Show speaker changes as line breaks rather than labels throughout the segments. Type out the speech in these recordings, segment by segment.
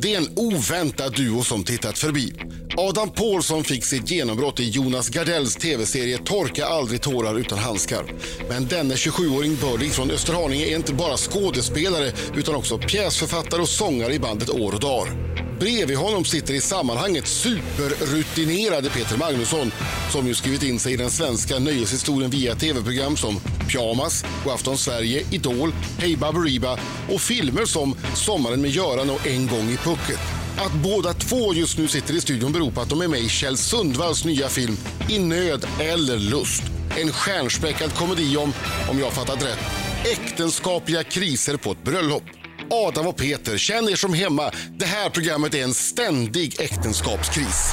Det är en oväntad duo som tittat förbi. Adam Pålsson fick sitt genombrott i Jonas Gardells tv-serie Torka aldrig tårar utan handskar. Men denne 27-åring bördig från Österhaninge är inte bara skådespelare utan också pjäsförfattare och sångare i bandet År och Dar. Bredvid honom sitter i sammanhanget superrutinerade Peter Magnusson som ju skrivit in sig i den svenska nöjeshistorien via tv-program som Pyjamas, Godafton Sverige, Idol, Hey Baberiba och filmer som Sommaren med Göran och En gång i pucket. Att båda två just nu sitter i studion beror på att de är med i Kjell Sundvalls nya film I nöd eller lust. En stjärnspäckad komedi om, om jag fattat rätt, äktenskapliga kriser på ett bröllop. Adam och Peter, känn er som hemma. Det här programmet är en ständig äktenskapskris.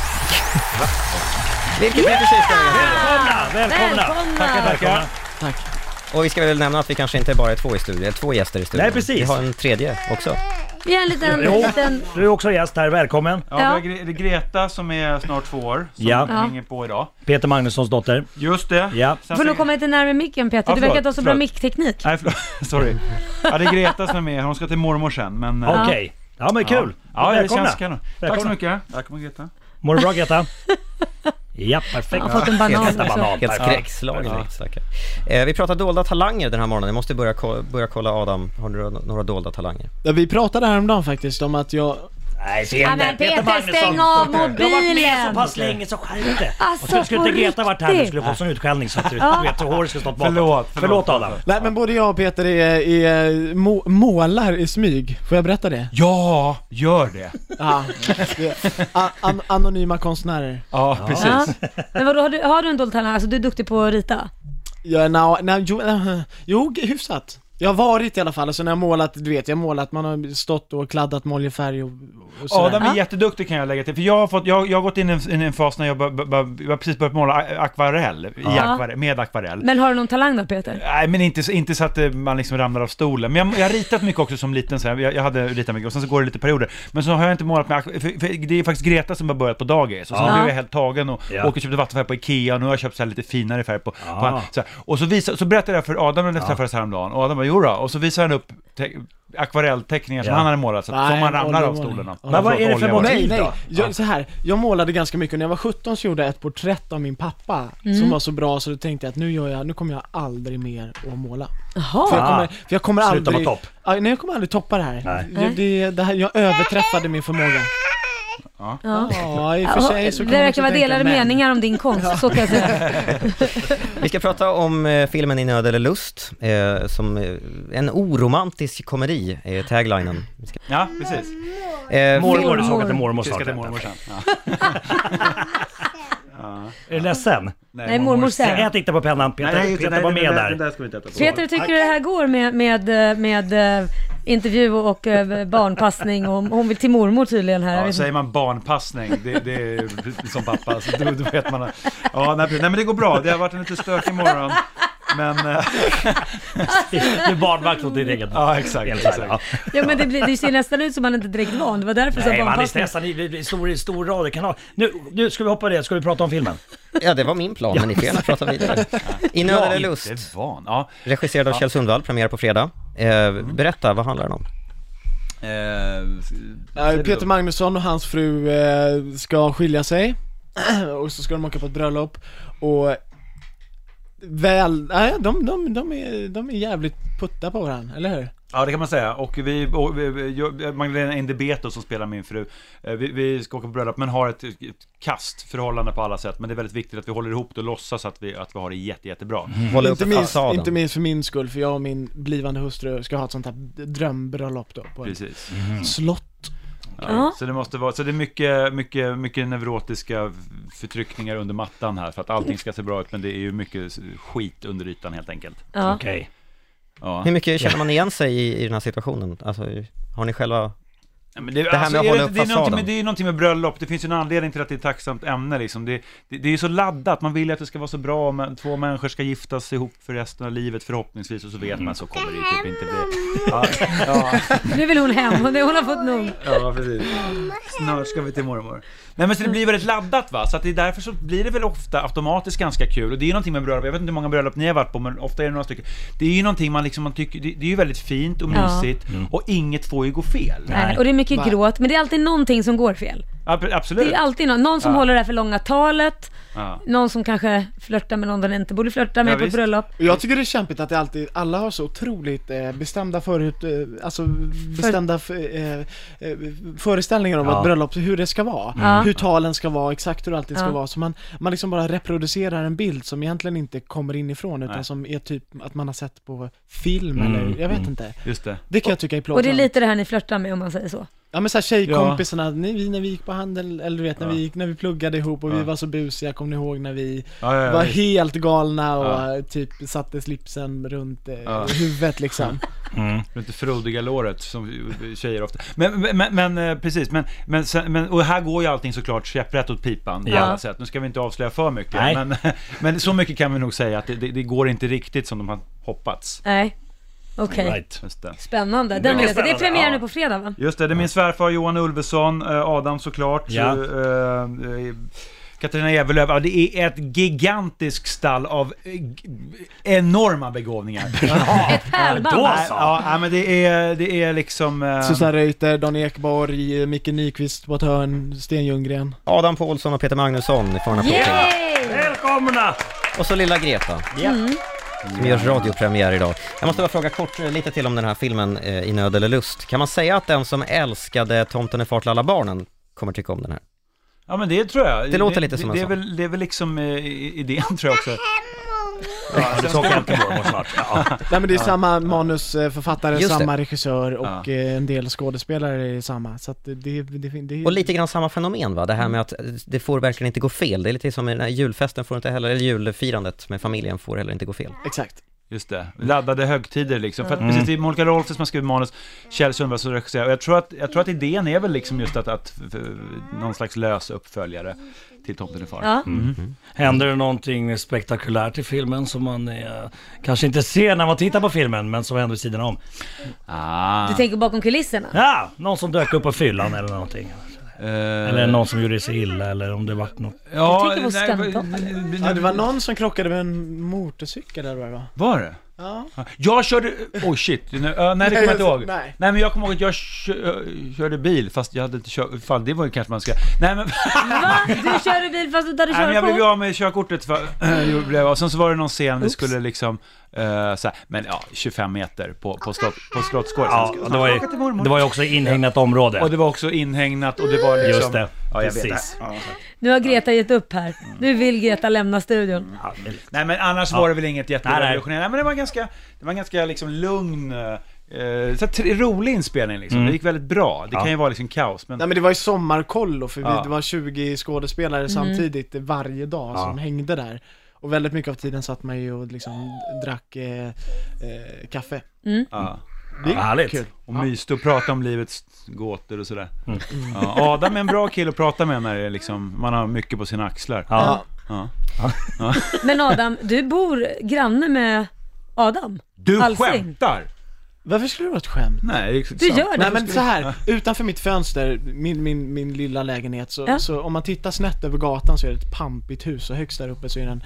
Vilket Peter Kihlström
Välkomna! Välkomna!
Välkomna!
Tackar, tackar.
Och vi ska väl nämna att vi kanske inte bara är två i studion, eller två gäster i studion.
Nej, precis.
Vi har en tredje också.
Vi är en liten,
Jo,
liten...
du är också gäst här, välkommen.
Ja,
Ja.
Vi har Gre- Greta som är snart två år, som
Ja.
hänger på idag.
Peter Magnussons dotter.
Just det.
Ja.
Sen
Får
så-
du komma lite närmare micken Peter?
Ja,
du
förlåt,
verkar inte ha så bra
förlåt.
mickteknik.
Nej, förlåt. Sorry. Ja, det är Greta som är med. Hon ska till mormor sen, men... eh,
Okej. Ja men kul.
Ja, ja det
Välkomna.
känns kanon. Tack så
Välkomna.
mycket. Där kommer Greta.
Mår du bra Greta? Ja, perfekt.
Jag har fått en banan
Helt,
också.
banan.
Helt
perfekt.
skräckslagen direkt stackare. eh, Vi pratar dolda talanger den här morgonen. Jag måste börja, ko- börja kolla Adam, har du några dolda talanger?
Ja, vi pratade häromdagen faktiskt om att jag...
Nej, se
Ja,
där.
men Peter,
Magnusson.
stäng av
Jag har varit med
mobilen!
så pass länge så skärp dig
Alltså,
Och så skulle
på
inte Greta varit här nu
riktigt.
skulle du fått sån utskällning så att du, du vet, så håret skulle stått bakåt.
Förlåt, förlåt.
Förlåt Adam.
Nej men både jag och Peter är, är må, målar i smyg, får jag berätta det?
Ja, gör det.
Ja. A, an, anonyma konstnärer.
Ja, precis.
Ja. Men vadå, har du, har du en dold talang? Alltså du är duktig på att rita?
Ja, na, na, jo, eh, jo, g- hyfsat. Jag har varit i alla fall, alltså när jag målat, du vet, jag har målat, man har stått och kladdat med oljefärg och, och sådär.
Adam är jätteduktig kan jag lägga till, för jag har, fått, jag, jag har gått in i en, in i en fas när jag, bör- bör- bör- jag har precis börjat måla a- akvarell, i akvarell med akvarell.
Men har du någon talang då Peter?
Nej, men inte, så- inte så att eh, man liksom ramlar av stolen. Men jag, jag har ritat mycket också som liten, så här. Jag, jag hade ritat mycket och sen så går det lite perioder. Men så har jag inte målat med, ak- för, för det är faktiskt Greta som har börjat på dagis. Och sen
Ja.
blev jag helt tagen och
Ja.
åkte och köpte vattenfärg på Ikea och nu har jag köpt så här lite finare färg på,
Ja.
på han- så här. Och så, visa, så berättade jag för Adam när vi träffades häromdagen och Adam bara jodå, och så visade han upp te- akvarellteckningar som
Ja.
han hade målat, så att,
Nej,
som man ramlar av
oljemålning.
stolen av.
Men
Nej,
vad är det
förlåt,
för
olja var
motiv?
Nej,
Tid
nej.
då?
Jag, så här, jag målade ganska mycket. När jag var 17 så gjorde jag ett porträtt av min pappa
Mm.
som var så bra så då tänkte jag att nu gör jag, nu kommer jag aldrig mer att måla. För jag
Jaha.
kommer, för jag kommer
Sluta
aldrig...
vara topp.
Ja, nej, jag kommer aldrig toppa det här.
Nej.
Jag, det, det här. jag överträffade min förmåga.
Ah. Ja.
Ja, i och för sig så
det
kan man
verkar
också
vara
tänka,
delade
men-
meningar om din konst, så kan jag säga.
Vi ska prata om eh, filmen I nöd eller lust, eh, som eh, en oromantisk komedi, är taglinen. Vi ska-
Ja, precis.
Eh,
Mormor,
Mormor.
du såg att det är mormor
Vi
snart.
ska till
Är
mormor sen. Ja.
du ledsen?
Nej, mormor sen.
Ät inte på pennan. Peter, Peter var med
Den
där.
där ska vi inte äta på.
Peter, hur tycker du det här går med, med, eh, med, eh, intervju och eh, barnpassning? Och hon vill till mormor tydligen här. Jag
Ja,
vet
säger man barnpassning, det, det är som pappa, så då, då vet man. att- Ja, nej, precis. nej, men det går bra. Det har varit en lite stökig morgon. Men, eh,
Du är barnvakt åt ditt eget barn.
ja exakt.
Ja.
exakt.
inte. ja, men det, blir, det ser nästan ut som man inte är direkt van. Det var därför jag sa
Nej, man är
barnpassning.
stressad. Det är stor, stor radiokanal. Nu, nu ska vi hoppa det. Ska vi prata om filmen?
Ja, det var min plan, men ni får gärna prata vidare. I nöd eller lust,
Inte van. Ja.
regisserad av Kjell Sundvall, premiär på fredag. Eh, berätta, vad handlar den om?
Eh, s-
Ja, Peter Magnusson och hans fru eh, ska skilja sig och så ska de åka på ett bröllop och väl, nej de, de, de, är, de är jävligt putta på varandra, eller hur?
ja, det kan man säga. Och vi, och vi- vi, jag, Magdalena Endebeto som spelar min fru, eh, vi, vi ska åka på bröllop men har ett, ett kastförhållande på alla sätt. Men det är väldigt viktigt att vi håller ihop det och låtsas att vi, att vi har det jätte, jättebra.
Håller
Inte
upp
minst,
fasaden.
inte minst för min skull, för jag och min blivande hustru ska ha ett sånt här drömbröllop då på ett
Precis.
slott
Ja.
Så det måste vara, så det är mycket, mycket, mycket neurotiska förtryckningar under mattan här för att allting ska se bra ut men det är ju mycket skit under ytan helt enkelt.
Ja.
Okej.
Ja.
Hur mycket känner man igen sig i, i den här situationen? Alltså, har ni själva...
Ja, Men det, alltså,
här med att
är
hålla
det-
upp
det är någonting
fasaden.
med- Det är ju någonting med bröllop, det finns ju en anledning till att det är ett tacksamt ämne liksom. det, det, det är ju så laddat, man vill ju att det ska vara så bra, men två människor ska giftas ihop för resten av livet förhoppningsvis och så vet man så kommer det ju typ inte bli. Ja, ja.
Nu vill hon hem. Hon, hon har fått nog.
Ja, precis. Snart ska vi till mormor. Nej, men så det blir väldigt laddat va, så att det är därför så blir det väl ofta automatiskt ganska kul. Och det är ju någonting med bröllop, jag vet inte hur många bröllop ni har varit på, men ofta är det några stycken. Det är ju någonting man liksom, man tycker, det, det är ju väldigt fint och
Ja.
mysigt, och inget får ju gå fel.
Nej. Eh, Och det är mycket
Nej.
gråt, men det är alltid någonting som går fel.
Ja, ab- absolut.
Det är alltid någon, någon som
Ja.
håller det här för långa talet,
Ja.
någon som kanske flörtar med någon den inte borde flörta med
Ja,
på ett
visst.
bröllop.
Och Jag tycker det är kämpigt att det alltid, alla har så otroligt eh, bestämda förut, eh, alltså bestämda f- eh, eh, föreställningar om
Ja.
ett bröllop, hur det ska vara,
Ja.
hur talen ska vara, exakt hur allting ska
Ja.
vara, så man, man liksom bara reproducerar en bild som egentligen inte kommer inifrån utan
Nej.
som är typ att man har sett på film
Mm,
eller, jag vet
mm.
inte.
Just det.
Det kan jag tycka är
Och det är
plågsamt.
lite det här ni flörtar med om man säger så.
Ja men såhär tjejkompisarna, ni, vi när vi gick på handel, eller du vet när,
Ja.
vi, gick- när vi pluggade ihop och vi
Ja.
var så busiga, kommer ni ihåg när vi
Ja, ja, ja,
var
visst.
helt galna och
Eh, Ja.
eh, typ satte slipsen runt eh,
Ja.
huvudet liksom.
Mm. Runt det frodiga låret som tjejer ofta. Men, men, men eh, precis, men, men, sen- men, och här går ju allting såklart käpprätt åt pipan på
Ja.
alla sätt. Nu ska vi inte avslöja för mycket,
Nej.
men, men så mycket kan vi nog säga att det, det, det går inte riktigt som de har hoppats.
Nej, okej.
Right.
Just det.
Spännande. Den vill jag se. Det är
spännande,
premiär
ja.
nu på fredag va?
Just det, det är min svärfar Johan Ulveson, eh, Adam såklart.
Ja.
eh, eh, Katarina Evelöv, ja, det är ett gigantiskt stall av eh, g- enorma begåvningar.
Ett pärlband.
Då
Nej, ja, nej, men det är, det är liksom... eh,
Susanne Reuter, Dan Ekborg, eh, Micke Nyqvist på ett hörn, Sten Ljunggren.
Adam Paulsson och Peter Magnusson i Fångarna på Åtvidaberg.
Yay!
Välkomna!
Och så lilla Greta, som gör radiopremiär idag. Jag måste bara fråga kort eh, lite till om den här filmen eh, I nöd eller lust. Kan man säga att den som älskade Tomten är far till alla barnen kommer tycka om den här?
Ja men det tror jag.
Det låter lite som en
det, det är
sån.
väl, det är väl liksom eh, i- idén tror jag också.
Ja, du såg inte mormor snart. Ja.
Nej men det är samma manusförfattare,
Just det.
samma regissör och eh, en del skådespelare är samma. Så att det, det, det, det
Och lite grann samma fenomen va? Det här med att eh, det får verkligen inte gå fel. Det är lite som i den här julfesten får inte heller, eller julfirandet med familjen får heller inte gå fel.
Exakt.
Just det, laddade högtider liksom. För
Mm.
att precis, det är Monica Rolfsson som har skrivit manus, Kjell Sundberg som regisserar. Och jag tror, att, jag tror att idén är väl liksom just att, att f- någon slags lös uppföljare till Tomten är far.
Ja.
Händer det någonting spektakulärt i filmen som man eh, kanske inte ser när man tittar på filmen, men som händer vid sidan om?
Ah.
Du tänker bakom kulisserna?
Ja, någon som dök upp på fyllan eller någonting.
Eh,
Eller någon som gjorde sig illa eller om det vart något.
Ja,
tänker på
nej,
Skantoppen.
vad-
Ja, det var någon som krockade med en motorcykel där var det va?
Var det?
Ja.
Jag körde... Oh shit, nu, ja, nej det kommer jag inte
Nej,
ihåg.
nej.
nej men jag kommer ihåg att jag kö, körde bil fast jag hade inte kört... Fan det var ju kanske man ska... Nej men...
Va? Du körde bil fast du inte hade
Nej, men jag blev ju
körkort?
av med körkortet för, jo, blev jag. och sen så var det någon scen vi skulle liksom, uh, så här, men ja, 25 meter på, på, slott, på Slottsgården.
Ja,
Sen ska-
det var ju,
Åka till mormor.
det var ju också inhägnat område.
Och det var också inhägnat och det var liksom...
Just det,
ja, jag vet.
precis.
Nu har Greta gett upp här. Nu vill Greta lämna studion.
Ja, men-
Nej men annars var det väl inget
Nej,
jätterevolutionerande, nej, men det var ganska, det var ganska liksom lugn, eh, så här, tre- rolig inspelning liksom. Det gick väldigt bra. Det
Mm. Ja.
kan ju vara liksom kaos, men...
Nej men det var ju sommarkollo för vi,
Ja.
det var 20 skådespelare
Mm.
samtidigt varje dag som
Ja.
hängde där. Och väldigt mycket av tiden satt man ju och liksom drack eh, eh, kaffe.
ja.
Det är
Ja, härligt.
kul.
Och myste och prata om livets gåtor och sådär.
Mm.
Ja, Adam är en bra kille att prata med när det är liksom, man har mycket på sina axlar.
Ja.
Ja.
Men Adam, du bor granne med Adam?
Du
Alsing.
skämtar!
Varför skulle det vara ett skämt?
Nej, det är sant.
Du gör
Nej
det?
men så här, utanför mitt fönster, min, min, min lilla lägenhet, så,
Ja.
så om man tittar snett över gatan så är det ett pampigt hus och högst där uppe så är det en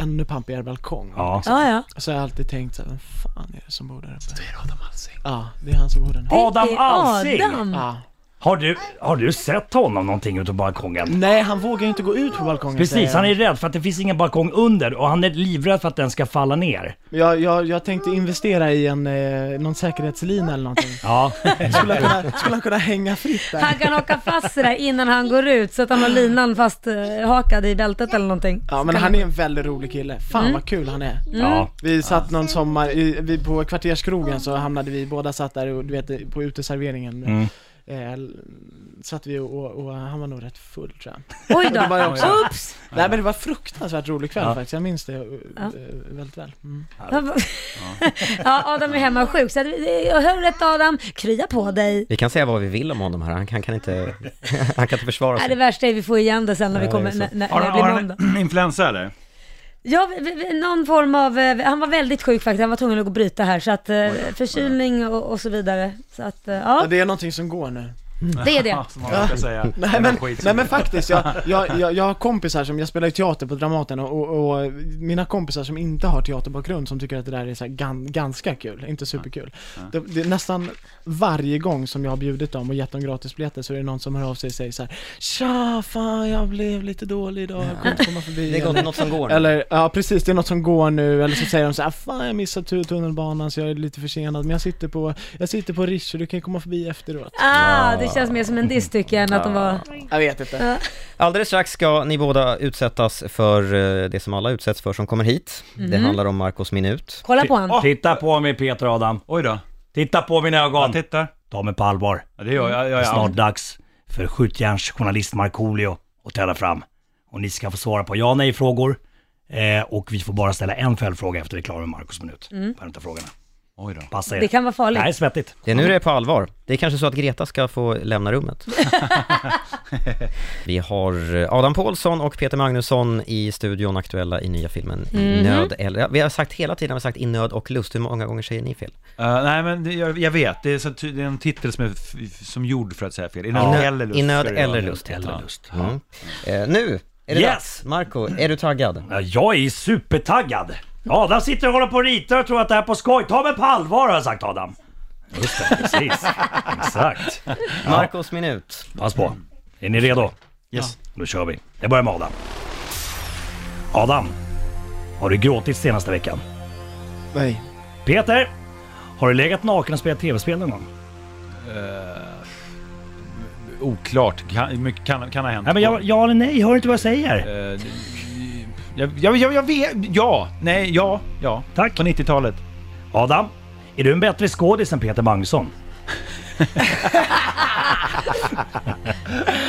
ännu pampigare balkong.
Ja.
Ja, ja.
Så har jag alltid tänkt så här, vem fan är det som bor där uppe? Det är Adam Alsing. Ja, det är han som bor där nu.
Det
Adam
är
Alsing.
Adam.
Ah.
Ja.
Har, du, har du sett honom någonting ute på balkongen?
Nej, han vågar ju Mm, inte gå ut på balkongen säger
Precis,
jag.
han är rädd för att det finns ingen balkong under och han är livrädd för att den ska falla ner.
Jag, jag, jag tänkte investera i en, eh, någon säkerhetslina eller någonting.
Ja.
Skulle han kunna, skulle han kunna hänga fritt där?
Han kan haka fast sig där innan han går ut så att han har linan fast eh, hakad i bältet eller någonting.
Ja men han är en väldigt rolig kille. Fan vad kul han är.
ja.
Vi satt någon sommar, i, vi, på kvarterskrogen så hamnade vi, båda satt där och, du vet på uteserveringen.
Mm.
Mm.
Eh, l- satt vi och, och han var nog rätt full tror jag.
Oj
Det var jag
då.
också.
Oops!
Nej men det var fruktansvärt rolig kväll
Ja.
faktiskt, jag minns det eh,
Ja.
väldigt väl. Mm.
Ja, Adam är hemma sjuk så att, jag hör rätt Adam, krya på dig.
Vi kan säga vad vi vill om honom här, han kan, han kan, inte, han kan inte försvara
Nej, det
sig.
värsta är vi får igen det sen när vi
Ja,
kommer,
det är
när,
så.
när
Har
när
han,
jag blir
har
måndag.
han influensa eller?
Ja, vi- vi- vi- någon form av, eh, han var väldigt sjuk faktiskt, han var tvungen att gå och bryta här så att eh, förkylning och, och så vidare. Så att, eh,
Ja,
ja.
det är någonting som går nu.
Det är det.
Ja, som man brukar säga.
Nej men, nej men faktiskt, jag, jag, jag, jag har kompisar som, jag spelar ju teater på Dramaten och, och, och mina kompisar som inte har teaterbakgrund som tycker att det där är så här gan, ganska kul, inte superkul. Det, det är nästan varje gång som jag har bjudit dem och gett dem gratisbiljetter så är det någon som hör av sig och säger så här: Tja, fan jag blev lite dålig idag, jag kunde inte komma förbi.
Det är
Eller-
gott, något som går. nu.
Eller, ja precis, det är något som går nu, eller så säger de så här, fan jag missade tu- tunnelbanan så jag är lite försenad, men jag sitter på, jag sitter på Riche så du kan komma förbi efteråt.
Ah, det känns mer som en diss tycker jag än att de var...
Jag vet inte.
Alldeles strax ska ni båda utsättas för eh, det som alla utsätts för som kommer hit. Det
Mhm.
handlar om Marcos minut.
Kolla på honom.
Titta på mig Peter och Adam.
Oj då.
Titta på mina ögon.
Jag tittar.
Ta mig på allvar.
Ja, det gör jag.
Det
jag,
är
jag,
snart
jag.
dags för skjutjärnsjournalist Markoolio att träda fram. Och ni ska få svara på ja nej frågor. Eh, och vi får bara ställa en följdfråga efter vi är klara med Marcos minut. Mm. På frågorna.
Oj då.
Passa er.
Det kan vara
det här är
farligt.
svettigt.
Det är nu det är på allvar. Det är kanske så att Greta ska få lämna rummet. Vi har eh, Adam Pålsson och Peter Magnusson i studion aktuella i nya filmen I
Mhm.
nöd eller... ja, Vi har sagt hela tiden, har vi sagt i nöd och lust. Hur många gånger säger ni fel?
Eh, nej men det, jag, jag vet, det är, så, ty- det är en titel som är f- f- som gjord för att säga fel. I
I
nöd
nö-
eller lust.
I nöd
ska det vara.
eller lust heter
Eller
den.
lust.
Mm. Eh, Nu är det
Yes!
dags. Marco, är du taggad?
Ja, Jag är supertaggad. Adam sitter och håller på och ritar och tror att det här är på skoj. Ta mig på allvar har jag sagt Adam. Just det, precis. Exakt.
Marcos minut.
Pass på. Är ni redo?
Yes.
Då kör vi. Jag börjar med Adam. Adam, har du gråtit senaste veckan?
Nej.
Peter, har du legat naken och spelat tv-spel någon gång?
Oklart, kan, mycket kan, kan ha hänt.
Nej men ja, ja eller nej, hör du inte vad jag säger?
Eh, jag, jag, jag, jag vet, ja, nej, ja, ja.
Tack.
På 90-talet.
Adam, är du en bättre skådis än Peter Magnusson?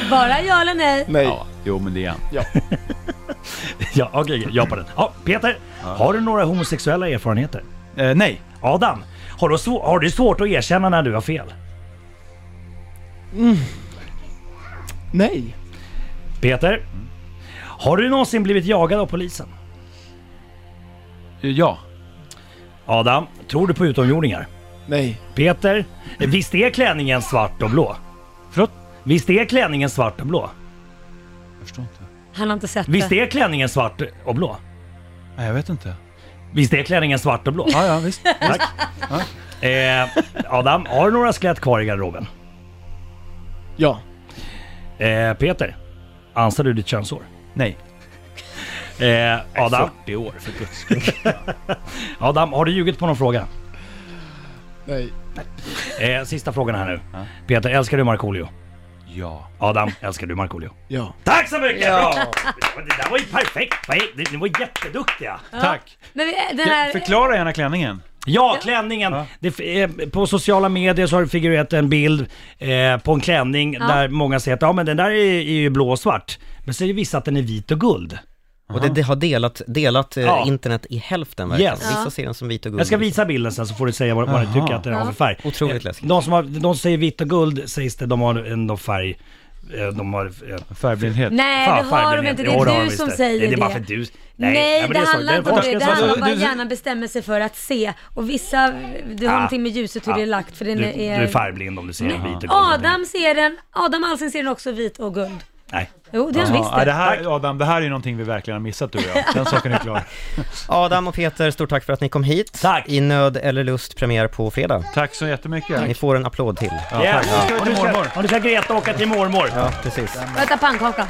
Bara ja eller nej.
Nej.
Ja, jo men det är han.
Ja, okej, ja på den. Ja, Peter, har du några homosexuella erfarenheter?
Eh, nej,
Adam, har du, svå- har du svårt att erkänna när du har fel?
Nej.
Peter, har du någonsin blivit jagad av polisen?
Eh, ja.
Adam, tror du på utomjordingar?
Nej.
Peter, visst är klänningen svart och blå? Förlåt? Visst är klänningen svart och blå?
Jag förstår inte.
Han har inte sett
Visst
det.
är klänningen svart och blå?
Nej, jag vet inte.
Visst är klänningen svart och blå?
Ja, ja, visst.
Eh, Adam, har du några skelett kvar i garderoben?
Ja.
Eh, Peter, ansar du ditt könshår?
nej.
Eh, Adam,
40 år, för guds skull.
Adam, har du ljugit på någon fråga?
Nej.
Eh, sista frågan här nu. Peter, älskar du Markoolio?
Ja.
Adam, älskar du Markoolio?
Ja.
Tack så mycket! Det där var ju perfekt! Vad är- Ni var jätteduktiga!
Tack.
Men vi- den här...
Förklara gärna klänningen.
Ja, klänningen! Det, f- eh, på sociala medier så har det figurerat en bild eh, på en klänning där många säger att ja, men den där är, är ju blå och svart. Men så är det vissa att den är vit och guld.
Och det, det har delat, delat eh,
Ja.
internet i hälften verkligen.
Yes.
Vissa ser den som vit och guld.
Jag ska visa bilden sen så får du säga vad, vad du tycker att den har för färg. Eh,
Otroligt läskigt.
De som, har, de som säger vitt och guld sägs det, de har en någon färg, eh, de har... eh,
Färgblindhet.
Nej,
fan,
det har
färgen
de inte. Det
Jo,
är
har
du
de
som
visst
säger det.
Det är bara för att du... Nej,
Nej,
men
det,
är så.
handlar inte om
forskar-
det. Det
Alltså,
handlar om vad
du-
hjärnan bestämmer sig för att se. Och vissa, det har
Ah.
någonting med ljuset hur det är lagt för den
Du, du
är...
är färgblind om du ser en vit och guld.
Adam ser den, Adam Alsing ser den också vit och guld.
Nej.
Jo, det har han visst
Ja, det
det.
här, Adam, det här är ju någonting vi verkligen har missat du och jag. Den saken är klar.
Adam och Peter, stort tack för att ni kom hit.
Tack.
I Nöd eller Lust premiär på fredag.
Tack så jättemycket.
Ni får en applåd till.
Ja,
tack. Nu ska vi
Och
till
nu ska-
mormor.
Och nu ska Greta åka till mormor.
Precis.
Äta pannkaka.